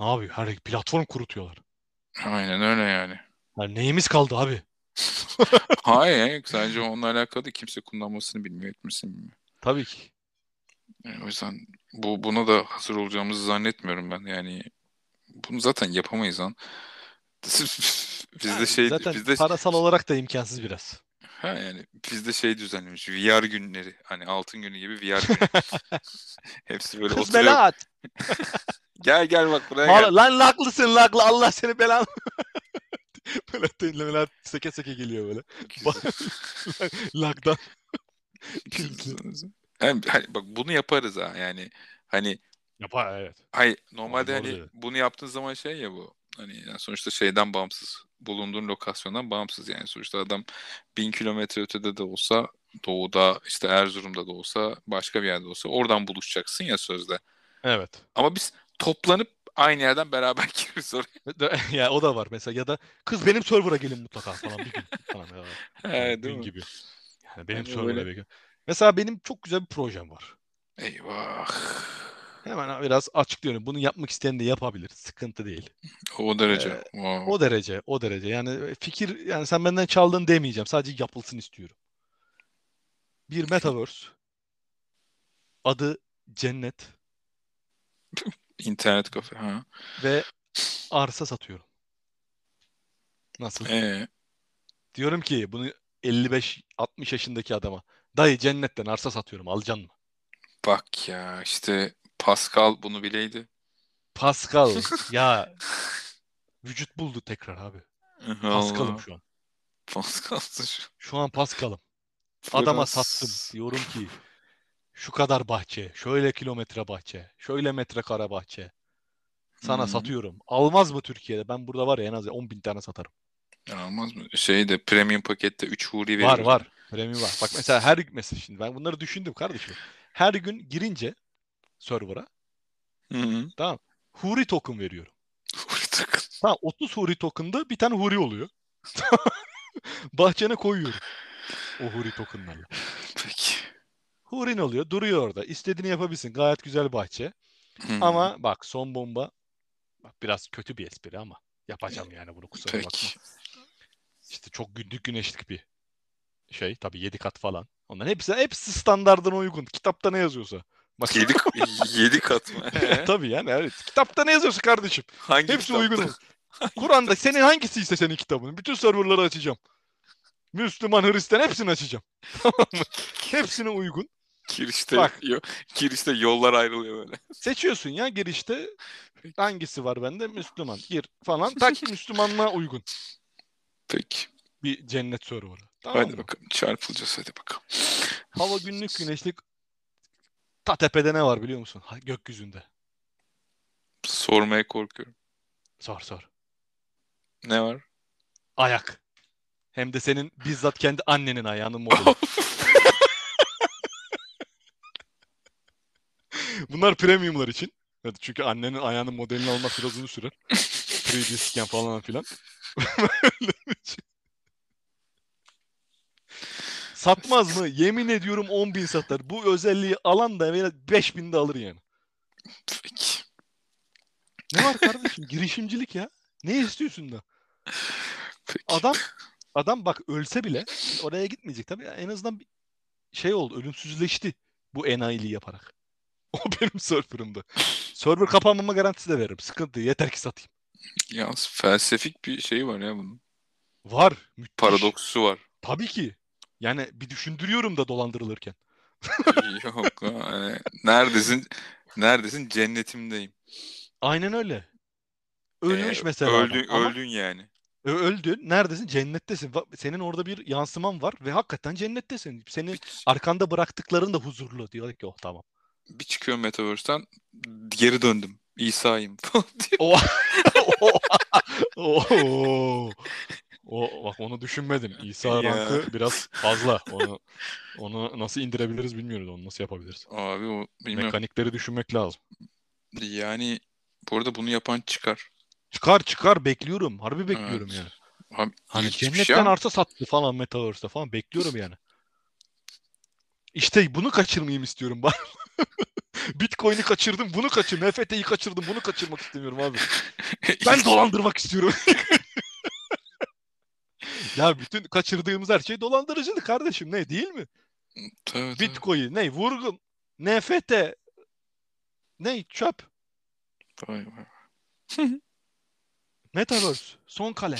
ne yapıyor? Her platform kurutuyorlar. Aynen öyle yani. Yani neyimiz kaldı abi? Hayır, sadece onunla alakalı değil. kimse kullanmasını bilmiyor, etmesini bilmiyor. Tabii ki. Yani o yüzden bu buna da hazır olacağımızı zannetmiyorum ben. Yani bunu zaten yapamayız lan. Bizde Yani şey zaten bizde parasal olarak da imkansız biraz. ha yani bizde şey düzenlemiş. VR günleri. Hani altın günü gibi VR günü. Hepsi böyle Kız oturuyor. bela at. Gel gel bak buraya gel. Mal- Lan laklısın laklı Allah seni belan. böyle tünlemeler seke seke geliyor böyle. Laktan. Hem- hani bak bunu yaparız ha yani. Hani Yapar evet. Hayır, normalde Tamam, doğru hani dedin. bunu yaptığın zaman şey ya bu. Hani yani sonuçta şeyden bağımsız. Bulunduğun lokasyondan bağımsız yani. Sonuçta adam bin kilometre ötede de olsa doğuda işte Erzurum'da da olsa başka bir yerde olsa oradan buluşacaksın ya sözde. Evet. Ama biz toplanıp aynı yerden beraber gireriz oraya. ya o da var mesela ya da kız benim server'a gelin mutlaka falan bir gün falan. Ya. He, değil gün mi? gibi. Yani benim Hani server'a böyle- bir- Mesela benim çok güzel bir projem var. Eyvah. Hemen biraz açıklıyorum. Bunu yapmak isteyen de yapabilir. Sıkıntı değil. O derece. Ee, Wow. O derece, o derece. Yani e, fikir, yani sen benden çaldın demeyeceğim. Sadece yapılsın istiyorum. Bir metaverse. Adı Cennet İnternet kafe. Ha. ve arsa satıyorum. Nasıl? Ee, Diyorum ki bunu 55-60 yaşındaki adama. Dayı cennetten arsa satıyorum. Alacaksın mı? bak ya işte Pascal bunu bileydi. Pascal ya vücut buldu tekrar abi. Pascal'ım şu an. Pascal'sın şu. Şu an Pascal'ım. Adama Fransız. sattım. Diyorum ki şu kadar bahçe, şöyle kilometre bahçe, şöyle metrekare bahçe. Sana Hı. satıyorum. Almaz mı Türkiye'de? Ben burada var ya en az 10 bin tane satarım. Ya Olmaz mı? Şey de premium pakette 3 huri var veriyoruz. var. Premium var. Bak mesela her gün mesela şimdi ben bunları düşündüm kardeşim. Her gün girince server'a Hı hı. huri token veriyorum. Huri takın. Tamam 30 huri token'da bir tane huri oluyor. Bahçene koyuyorum. O huri token'larla. Peki. Hurin oluyor. Duruyor orada. İstediğini yapabilsin. Gayet güzel bahçe. Hmm, Ama bak son bomba bak biraz kötü bir espri ama yapacağım yani bunu kusura bakma. Peki. İşte çok günlük güneşlik bir şey. Tabii 7 kat falan. Onların hepsi hepsi standardına uygun. Kitapta ne yazıyorsa. Bak, 7, 7 kat mı? Ee? tabii yani evet. Kitapta ne yazıyorsa kardeşim. Hangi Hepsi kitapta? uygun. Kur'an'da senin hangisiyse senin kitabın. Bütün serverları açacağım. Müslüman, Hristiyan hepsini açacağım. Tamam mı? Hepsine uygun. Kirişte, Bak. yo- kirişte yollar ayrılıyor böyle. Seçiyorsun ya girişte hangisi var bende? Müslüman. Gir falan. Tak Müslümanlığa uygun Peki. bir cennet serverı. Tamam Hadi mı? bakalım. Çarpılacağız hadi bakalım. Hava günlük güneşlik. Ta tepede ne var biliyor musun? Ha, gökyüzünde. Sormaya korkuyorum. Sor sor. Ne var? Ayak. Hem de senin bizzat kendi annenin ayağının modeli. Bunlar premiumlar için. Evet, çünkü annenin ayağının modelini almak biraz uzun sürer. 3D scan falan filan. Böyle için. Satmaz mı? Yemin ediyorum 10.000 satar. Bu özelliği alan da 5 de alır yani. Peki. Ne var kardeşim? Girişimcilik ya. Ne istiyorsun da? Peki. Adam adam bak ölse bile oraya gitmeyecek tabii. En azından bir şey oldu. Ölümsüzleşti bu enayiliği yaparak. O benim serverımda. Server kapanmama garantisi de veririm. Sıkıntı değil. Yeter ki satayım. Yalnız felsefik bir şey var ya bunun. Var. Müthiş. Paradoksu var. Tabii ki. Yani bir düşündürüyorum da dolandırılırken. Yok lan. hani neredesin? Neredesin? Cennetimdeyim. Aynen öyle. Ölmüş Ee, mesela. adam. Öldün, Ama öldün yani. ö- öldün. Neredesin? Cennettesin. Va- Senin orada bir yansıman var ve hakikaten cennettesin. Seni arkanda bıraktıkların da huzurlu. Diyorlar ki oh tamam. Bir çıkıyor Metaverse'den geri döndüm. İsa'yım falan diye. Oo. O bak onu düşünmedim. İsa Ya. rankı biraz fazla. Onu onu nasıl indirebiliriz bilmiyoruz. Onu nasıl yapabiliriz? Abi o bilmiyorum. Mekanikleri düşünmek lazım. Yani bu arada bunu yapan çıkar. Çıkar çıkar bekliyorum. Harbi bekliyorum yani. Abi, Hani ilginç bir şey cennetten ama- arsa sattı falan Metaverse'de falan bekliyorum yani. İşte bunu kaçırmayayım istiyorum bak. Bitcoin'i kaçırdım, bunu kaçırdım. NFT'yi kaçırdım, bunu kaçırmak istemiyorum abi. Ben dolandırmak istiyorum. ya bütün kaçırdığımız her şey dolandırıcılık kardeşim ne değil mi? Tabii, tabii. Bitcoin ne vurgun NFT ne çöp Vay vay. metaverse son kalem.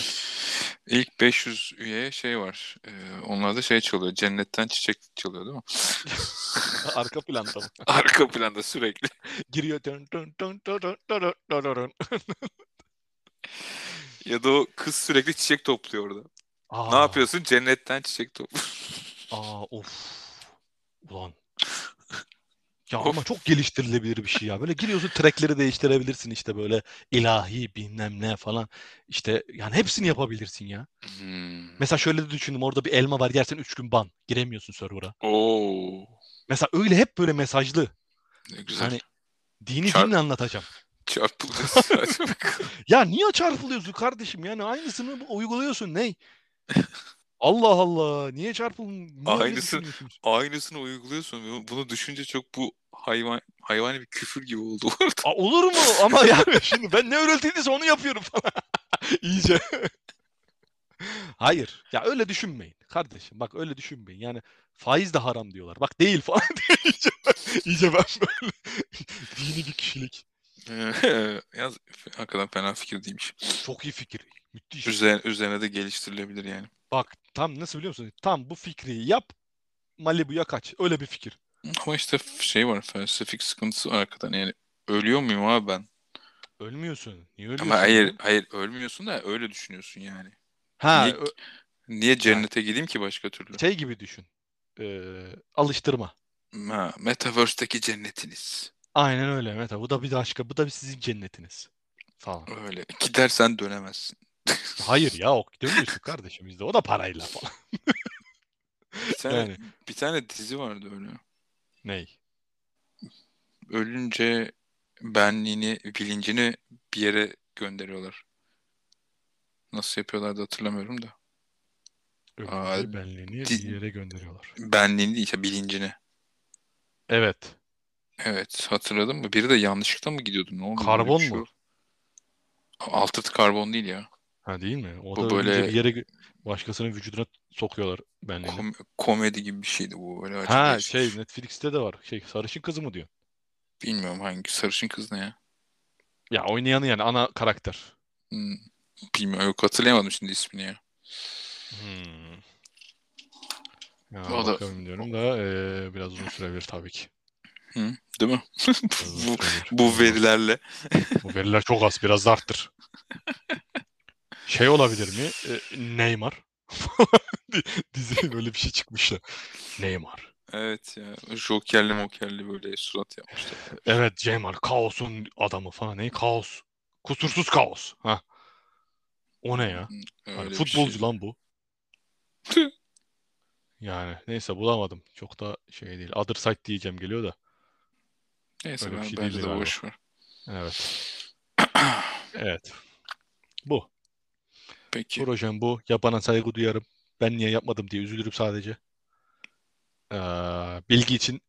İlk 500 üyeye şey var. Ee, onlar da şey çalıyor. Cennetten çiçek çalıyor değil mi? Arka planda mı? Arka planda sürekli. Giriyor. Dön, dön, dön, dön, dön, dön, dön, dön, dön. Ya da o kız sürekli çiçek topluyor orada. Aa, Ne yapıyorsun? Cennetten çiçek topluyor. Aa of. Ulan. Ya ama çok geliştirilebilir bir şey ya. Böyle giriyorsun trackleri değiştirebilirsin işte böyle ilahi bilmem ne falan. İşte yani hepsini yapabilirsin ya. Hmm. Mesela şöyle de düşündüm orada bir elma var yersen 3 gün ban. Giremiyorsun server'a. Oo, Mesela öyle hep böyle mesajlı. ne güzel. Hani dini Çar- dinle anlatacağım. Çarpılacağız. Hadi bakalım. Ya niye çarpılıyorsun kardeşim? Yani aynısını bu- uyguluyorsun ney? Allah Allah. Niye çarpılın? Niye öyle Aynısı- düşünüyorsunuz? Aynısını uyguluyorsun. Bunu düşünce çok bu hayvan hayvani bir küfür gibi oldu bu arada. Aa, olur mu? Ama yani şimdi ben ne öğretildiyse onu yapıyorum falan. İyice. Hayır. Ya öyle düşünmeyin kardeşim. Bak öyle düşünmeyin. Yani faiz de haram diyorlar. Bak değil falan diye iyice, iyice ben böyle dini bir kişilik. Ee, Yalnız hakikaten fena fikir değilmiş. Çok iyi fikir. Müthiş. Üzerine, üzerine de geliştirilebilir yani. Bak tam nasıl biliyor musun? Tam bu fikri yap. Malibu'ya kaç. Öyle bir fikir. Ama işte şey var felsefik sıkıntısı var hakikaten. Yani ölüyor muyum abi ben? Ölmüyorsun. Niye ölüyorsun? Ama hayır lan? hayır ölmüyorsun da öyle düşünüyorsun yani. Ha, Niye- ö- Niye cennete gideyim ki başka türlü? şey gibi düşün. Ee, alıştırma. Ha, Metaverse'deki cennetiniz. Aynen öyle Meta. Bu da bir başka. Bu da bir sizin cennetiniz. Falan. Öyle. Gidersen dönemezsin. Hayır ya o dönüyorsun kardeşim bizde. O da parayla falan. Bir tane, Yani bir tane dizi vardı öyle. ney? Ölünce benliğini, bilincini bir yere gönderiyorlar. Nasıl yapıyorlardı hatırlamıyorum da. Ölümcül Aa, benliğini di- bir yere gönderiyorlar. Benliğini değil işte bilincini. Evet. Evet hatırladım mı? Biri de yanlışlıkla mı gidiyordu? Ne oldu? Böyle Karbon bir şey mu? oldu. Altı karbon değil ya. Ha değil mi? O Bu da böyle- ölünce bir yere gö- başkasının vücuduna sokuyorlar benliğini. Kom- komedi gibi bir şeydi bu. Öyle acı Ha bir- şey Netflix'te de var. Şey sarışın kızı mı diyor? Bilmiyorum hangi sarışın kız ne ya. Ya oynayanı yani ana karakter. Hmm, Bilmiyorum yok hatırlayamadım şimdi ismini ya. Hmm. Ya O da- bakalım diyorum da eee, biraz uzun sürebilir tabii ki. Değil mi? Biraz uzun bu, sürebilir. bu verilerle. Bu veriler çok az. Biraz da arttır. Şey olabilir mi? Ee, Neymar. Dizi böyle bir şey çıkmış ya. Neymar. Evet ya. Jokerli mokerli böyle surat yapmışlar. Evet Ceymar. Kaosun adamı falan. Ne? Kaos. Kusursuz kaos. Ha. O ne ya? Öyle Hani bir futbolcu şey. lan bu. Yani neyse bulamadım. Çok da şey değil. Other side diyeceğim geliyor da. Neyse Öyle bir ben şey bence değildi de galiba. boş ver. Evet. Evet. Bu. Peki. Projem bu. Yapana saygı duyarım. Ben niye yapmadım diye üzülürüm sadece. Ee, bilgi için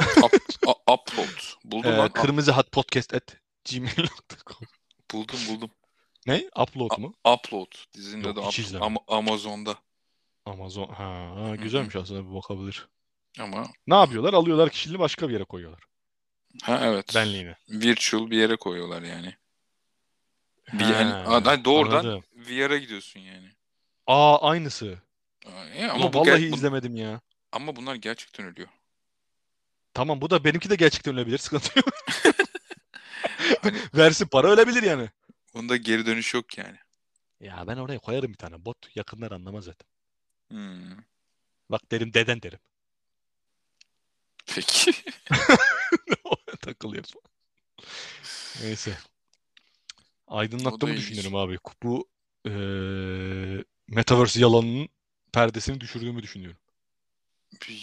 A- upload. Buldum e, lan. kırmızı hat podcast at gmail.com. A- buldum buldum. Ne? Upload mu? Upload. Dizinin Yok, adı hiç Upload. izlemedim. Ama- Amazon'da. Amazon. Ha, ha, güzelmiş aslında bir bakabilir. Ama Ne yapıyorlar? Alıyorlar kişiliği başka bir yere koyuyorlar. ha evet. Benliğini. Virtual bir yere koyuyorlar yani. Bir Ha, yani a- a- doğrudan anladım. VR'a gidiyorsun yani. Aa aynısı. Ay, Ama Ama bu ger- vallahi bu- izlemedim ya. ama bunlar gerçekten ölüyor. Tamam bu da benimki de gerçekten ölebilir. Sıkıntı yok. Hani Versin para ölebilir yani. bunda geri dönüş yok yani. Ya ben oraya koyarım bir tane bot. Yakınlar anlamaz zaten. Hmm. Bak derim deden derim. Peki. Oraya takılıyor. Neyse. O da Aydınlattığımı ilginç. düşünüyorum abi. Bu eee Metaverse yalanının perdesini düşürdüğümü düşünüyorum.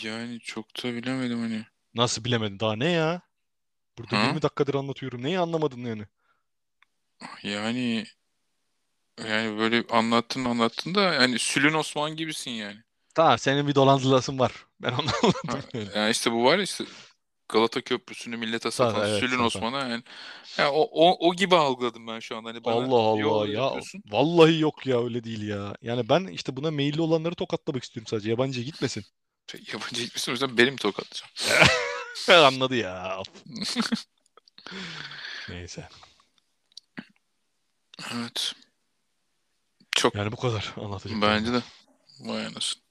Yani çok da bilemedim hani. Nasıl bilemedin daha ne ya? Burada Ha? 20 dakikadır anlatıyorum. Neyi anlamadın yani? Yani yani böyle anlattın anlattın da yani Sülün Osman gibisin yani. Tamam senin bir dolandırılasın var. Ben onu anladım. yani. Yani işte bu var ya işte Galata Köprüsü'nü millete Tabii, satan evet, Sülün satan. Osman'a yani, yani o, o, o gibi algıladım ben şu an. Hani bana Allah Allah yol ya. yapıyorsun. Vallahi yok ya öyle değil ya. Yani ben işte buna meyilli olanları tokatlamak istiyorum sadece. Yabancıya gitmesin. Şey, Yabancı gitmişsin o yüzden benim tokatlayacağım. Anladı ya. Neyse. Evet. Çok Yani bu kadar anlatacak. bence de. Vay anasını.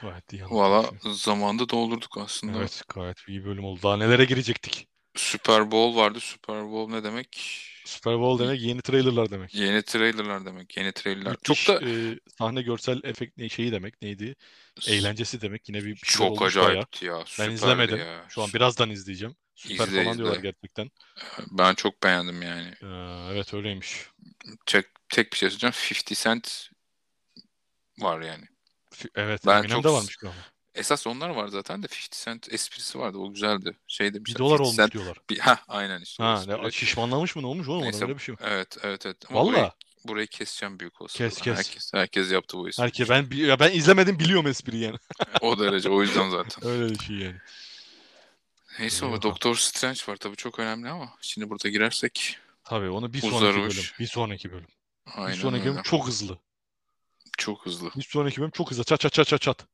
Gayet iyi Valla anlatmışım. zamanda doldurduk aslında. Evet gayet iyi bölüm oldu. Daha nelere girecektik? Super Bowl vardı. Super Bowl ne demek? Super Bowl demek yeni trailerlar demek. Yeni trailerlar demek. Yeni trailerlar. Müthiş, Çok da e, sahne görsel efekt ne, şeyi demek neydi? Eğlencesi demek. Yine bir, bir şeyler çok olmuş bayağı. acayipti ya. Süperdi izlemedim. ya. Şu an birazdan izleyeceğim. Süper İzle, falan diyorlar izle. gerçekten. Ben çok beğendim yani. Ee, evet öyleymiş. Tek, tek bir şey söyleyeceğim. 50 Cent var yani. F- Evet Ben Eminem çok de s- varmış galiba. Esas onlar var zaten de 50 Cent esprisi vardı. O güzeldi. Şey Bir demişler. dolar 50 olmuş Cent diyorlar. bir- Hah, aynen işte. o Ha, ne- espri. şişmanlamış mı ne olmuş oğlum? Neyse. Neyse. Öyle bir şey mi? Evet evet evet. Ama Valla. burayı, burayı keseceğim büyük olasılıkla. Kes, kes. Herkes, herkes yaptı bu espriyi. Herke, ben, bi- ya ben izlemedim biliyorum espriyi yani. O derece o yüzden zaten. Öyle bir şey yani. Neyse İyi ama bakalım. Doktor Strange var tabii çok önemli ama şimdi burada girersek Tabii onu bir sonraki Uzarmış. bölüm. Bir sonraki bölüm. aynen bir sonraki öyle. bölüm çok hızlı. Çok hızlı. Bir sonraki bölüm çok hızlı. Çat çat çat çat çat.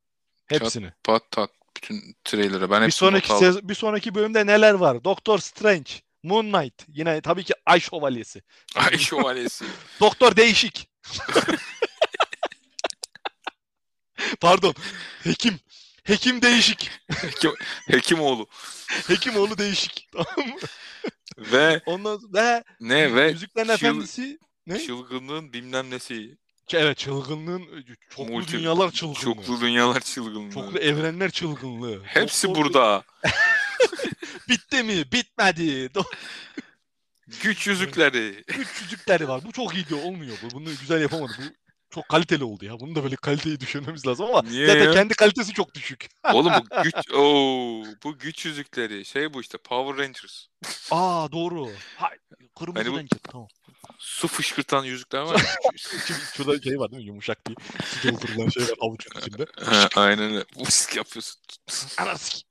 Hepsini. Pat tat bütün trailer'ı ben hepsini Bir not sonraki aldım. sez- bir sonraki bölümde neler var? Doktor Strange, Moon Knight, yine tabii ki Ay Şövalyesi. Ay şövalyesi. Doktor Değişik. Pardon. Hekim. Hekim Değişik. Hekim, Hekimoğlu. Hekimoğlu Değişik. Tamam mı? Ve Ondan sonra ve ne ve Yüzüklerin çıl- Efendisi. Ne? çılgınlığın bilmem nesi. Evet çılgınlığın e, çoklu Multi- dünyalar çılgınlığı. Çoklu dünyalar çılgınlığı. Çoklu e- evrenler çılgınlığı. Hepsi Doktor- burada. Bitti mi? Bitmedi. Güç yüzükleri. Küçücükleri var. Bu çok iyi diyor. Olmuyor bu. Bunu güzel yapamadı. Bu çok kaliteli oldu ya. Bunu da böyle kaliteyi düşünmemiz lazım ama Niye zaten ya? kendi kalitesi çok düşük. Oğlum bu güç Oo, bu güç yüzükleri. Şey bu işte Power Rangers. Aa doğru. Hay, kırmızı Hani bu- renk. Tamam. Su fışkırtan yüzükler var. ya. Şimdi şurada şey var değil mi? Yumuşak diye. Sıcağı şey var avucun içinde. Ha, aynen öyle. Usk yapıyorsun. Anasik.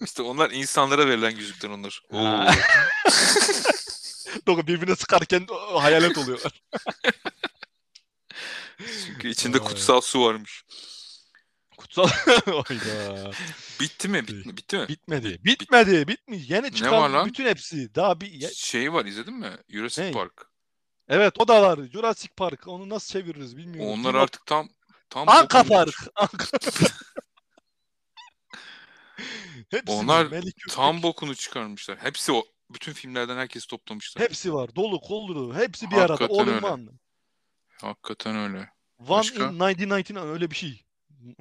İşte onlar insanlara verilen yüzükler onlar. Oo. Ha. Doğru birbirine sıkarken hayalet oluyorlar. Çünkü içinde Vay. kutsal su varmış. Kutsal. Oyda. Bitti mi? Bitti, bitti mi? Bitmedi. Bitmedi. Bitmiyor. Yeni var çıkan lan? bütün hepsi. Daha bir ya- Şey var izledin mi? Jurassic Ney? Park. Evet o da var. Jurassic Park. Onu nasıl çeviririz bilmiyorum. Onlar Bilmem- artık tam tam Anka bokunu- Park. Anka Hepsi Onlar Melik Köpek. tam bokunu çıkarmışlar. Hepsi o bütün filmlerden herkesi toplamışlar. Hepsi var. Dolu kollu. Hepsi bir arada. Hakikaten All in öyle. one. Hakikaten öyle. One Başka? in 1999 öyle bir şey.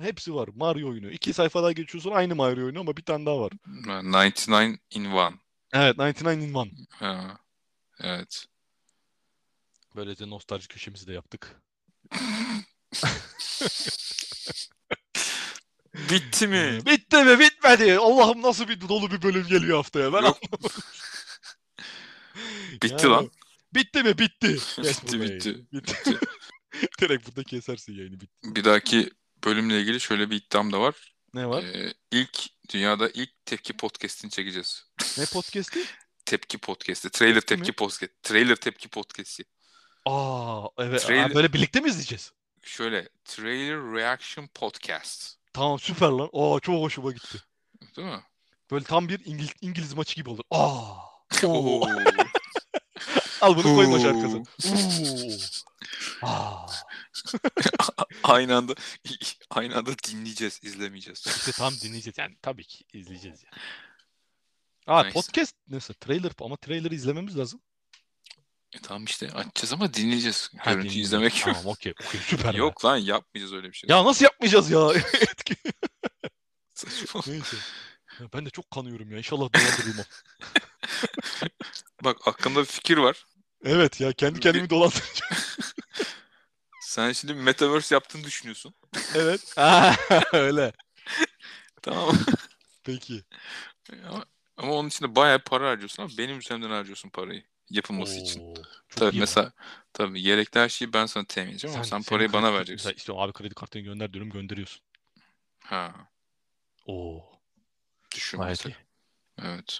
Hepsi var. Mario oyunu. İki sayfada geçiyorsun aynı Mario oyunu ama bir tane daha var. 99 in 1. Evet 99 in One. Ha. Evet. Böylece nostalji köşemizi de yaptık. Bitti mi? Bitti mi? Bitmedi. Allah'ım nasıl bir dolu bir bölüm geliyor haftaya. Ben Yok. anlamadım. Bitti Yani- lan. Bitti mi? Bitti. Yes, Bitti burayı. bitti. Bitti. Direkt burada kesersin yayını. Bitti. Bir dahaki bölümle ilgili şöyle bir iddiam da var. Ne var? Ee, ilk dünyada ilk tepki podcast'ini çekeceğiz. Ne podcast'i? Tepki podcast'i. Trailer Tepki mi? tepki podcast. Trailer tepki podcast'i. Aa evet. Aa, Trailer- böyle birlikte mi izleyeceğiz? Şöyle trailer reaction podcast. Tamam süper lan. Aa çok hoşuma gitti. Değil mi? Böyle tam bir İngiliz, İngiliz maçı gibi olur. Aa. Oo. Oo. Al bunu koyma Oo. şarkısı. Oo. Aa. Aynı anda aynı anda dinleyeceğiz, izlemeyeceğiz. İşte tam dinleyeceğiz. Yani tabii ki izleyeceğiz yani. Aa Nice. podcast neyse trailer ama trailer'ı izlememiz lazım. E tamam işte açacağız ama dinleyeceğiz. Ha, Görüntü dinleyeceğiz. izlemek yok. Tamam okey. Okey, süper. be. Yok lan yapmayacağız öyle bir şey. Ya nasıl yapmayacağız ya? Saçma. Neyse. Ya ben de çok kanıyorum ya. İnşallah dolandırılmam. Bak aklımda bir fikir var. evet ya kendi kendimi dolandıracağım. Sen şimdi metaverse yaptığını düşünüyorsun. evet. Aa, öyle. Tamam. mı? Peki. Ama, ama onun için de bayağı para harcıyorsun ama benim üzerimden harcıyorsun parayı yapılması için. Oo, çok Tabii iyi lan. mesela tabii gerekli her şeyi ben sana temin edeceğim ama sen senin parayı bana kredi- vereceksin. Mesela işte abi kredi kartını gönder diyorum gönderiyorsun. Ha, Oo. düşün Gayet iyi. mesela. Evet.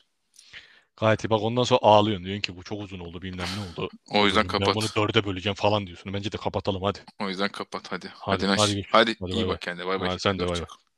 Gayet iyi. Bak ondan sonra ağlıyorsun. Diyorsun ki bu çok uzun oldu bilmem ne oldu. O yüzden Ben kapat. bunu dörde böleceğim falan diyorsun. Bence de kapatalım hadi. O yüzden kapat hadi. Hadi, Hadi naş. hadi görüşürüz. Hadi Hadi iyi bay bay. bak kendine. Bay bay. Ha, sen de bay bay. Hoşça kal.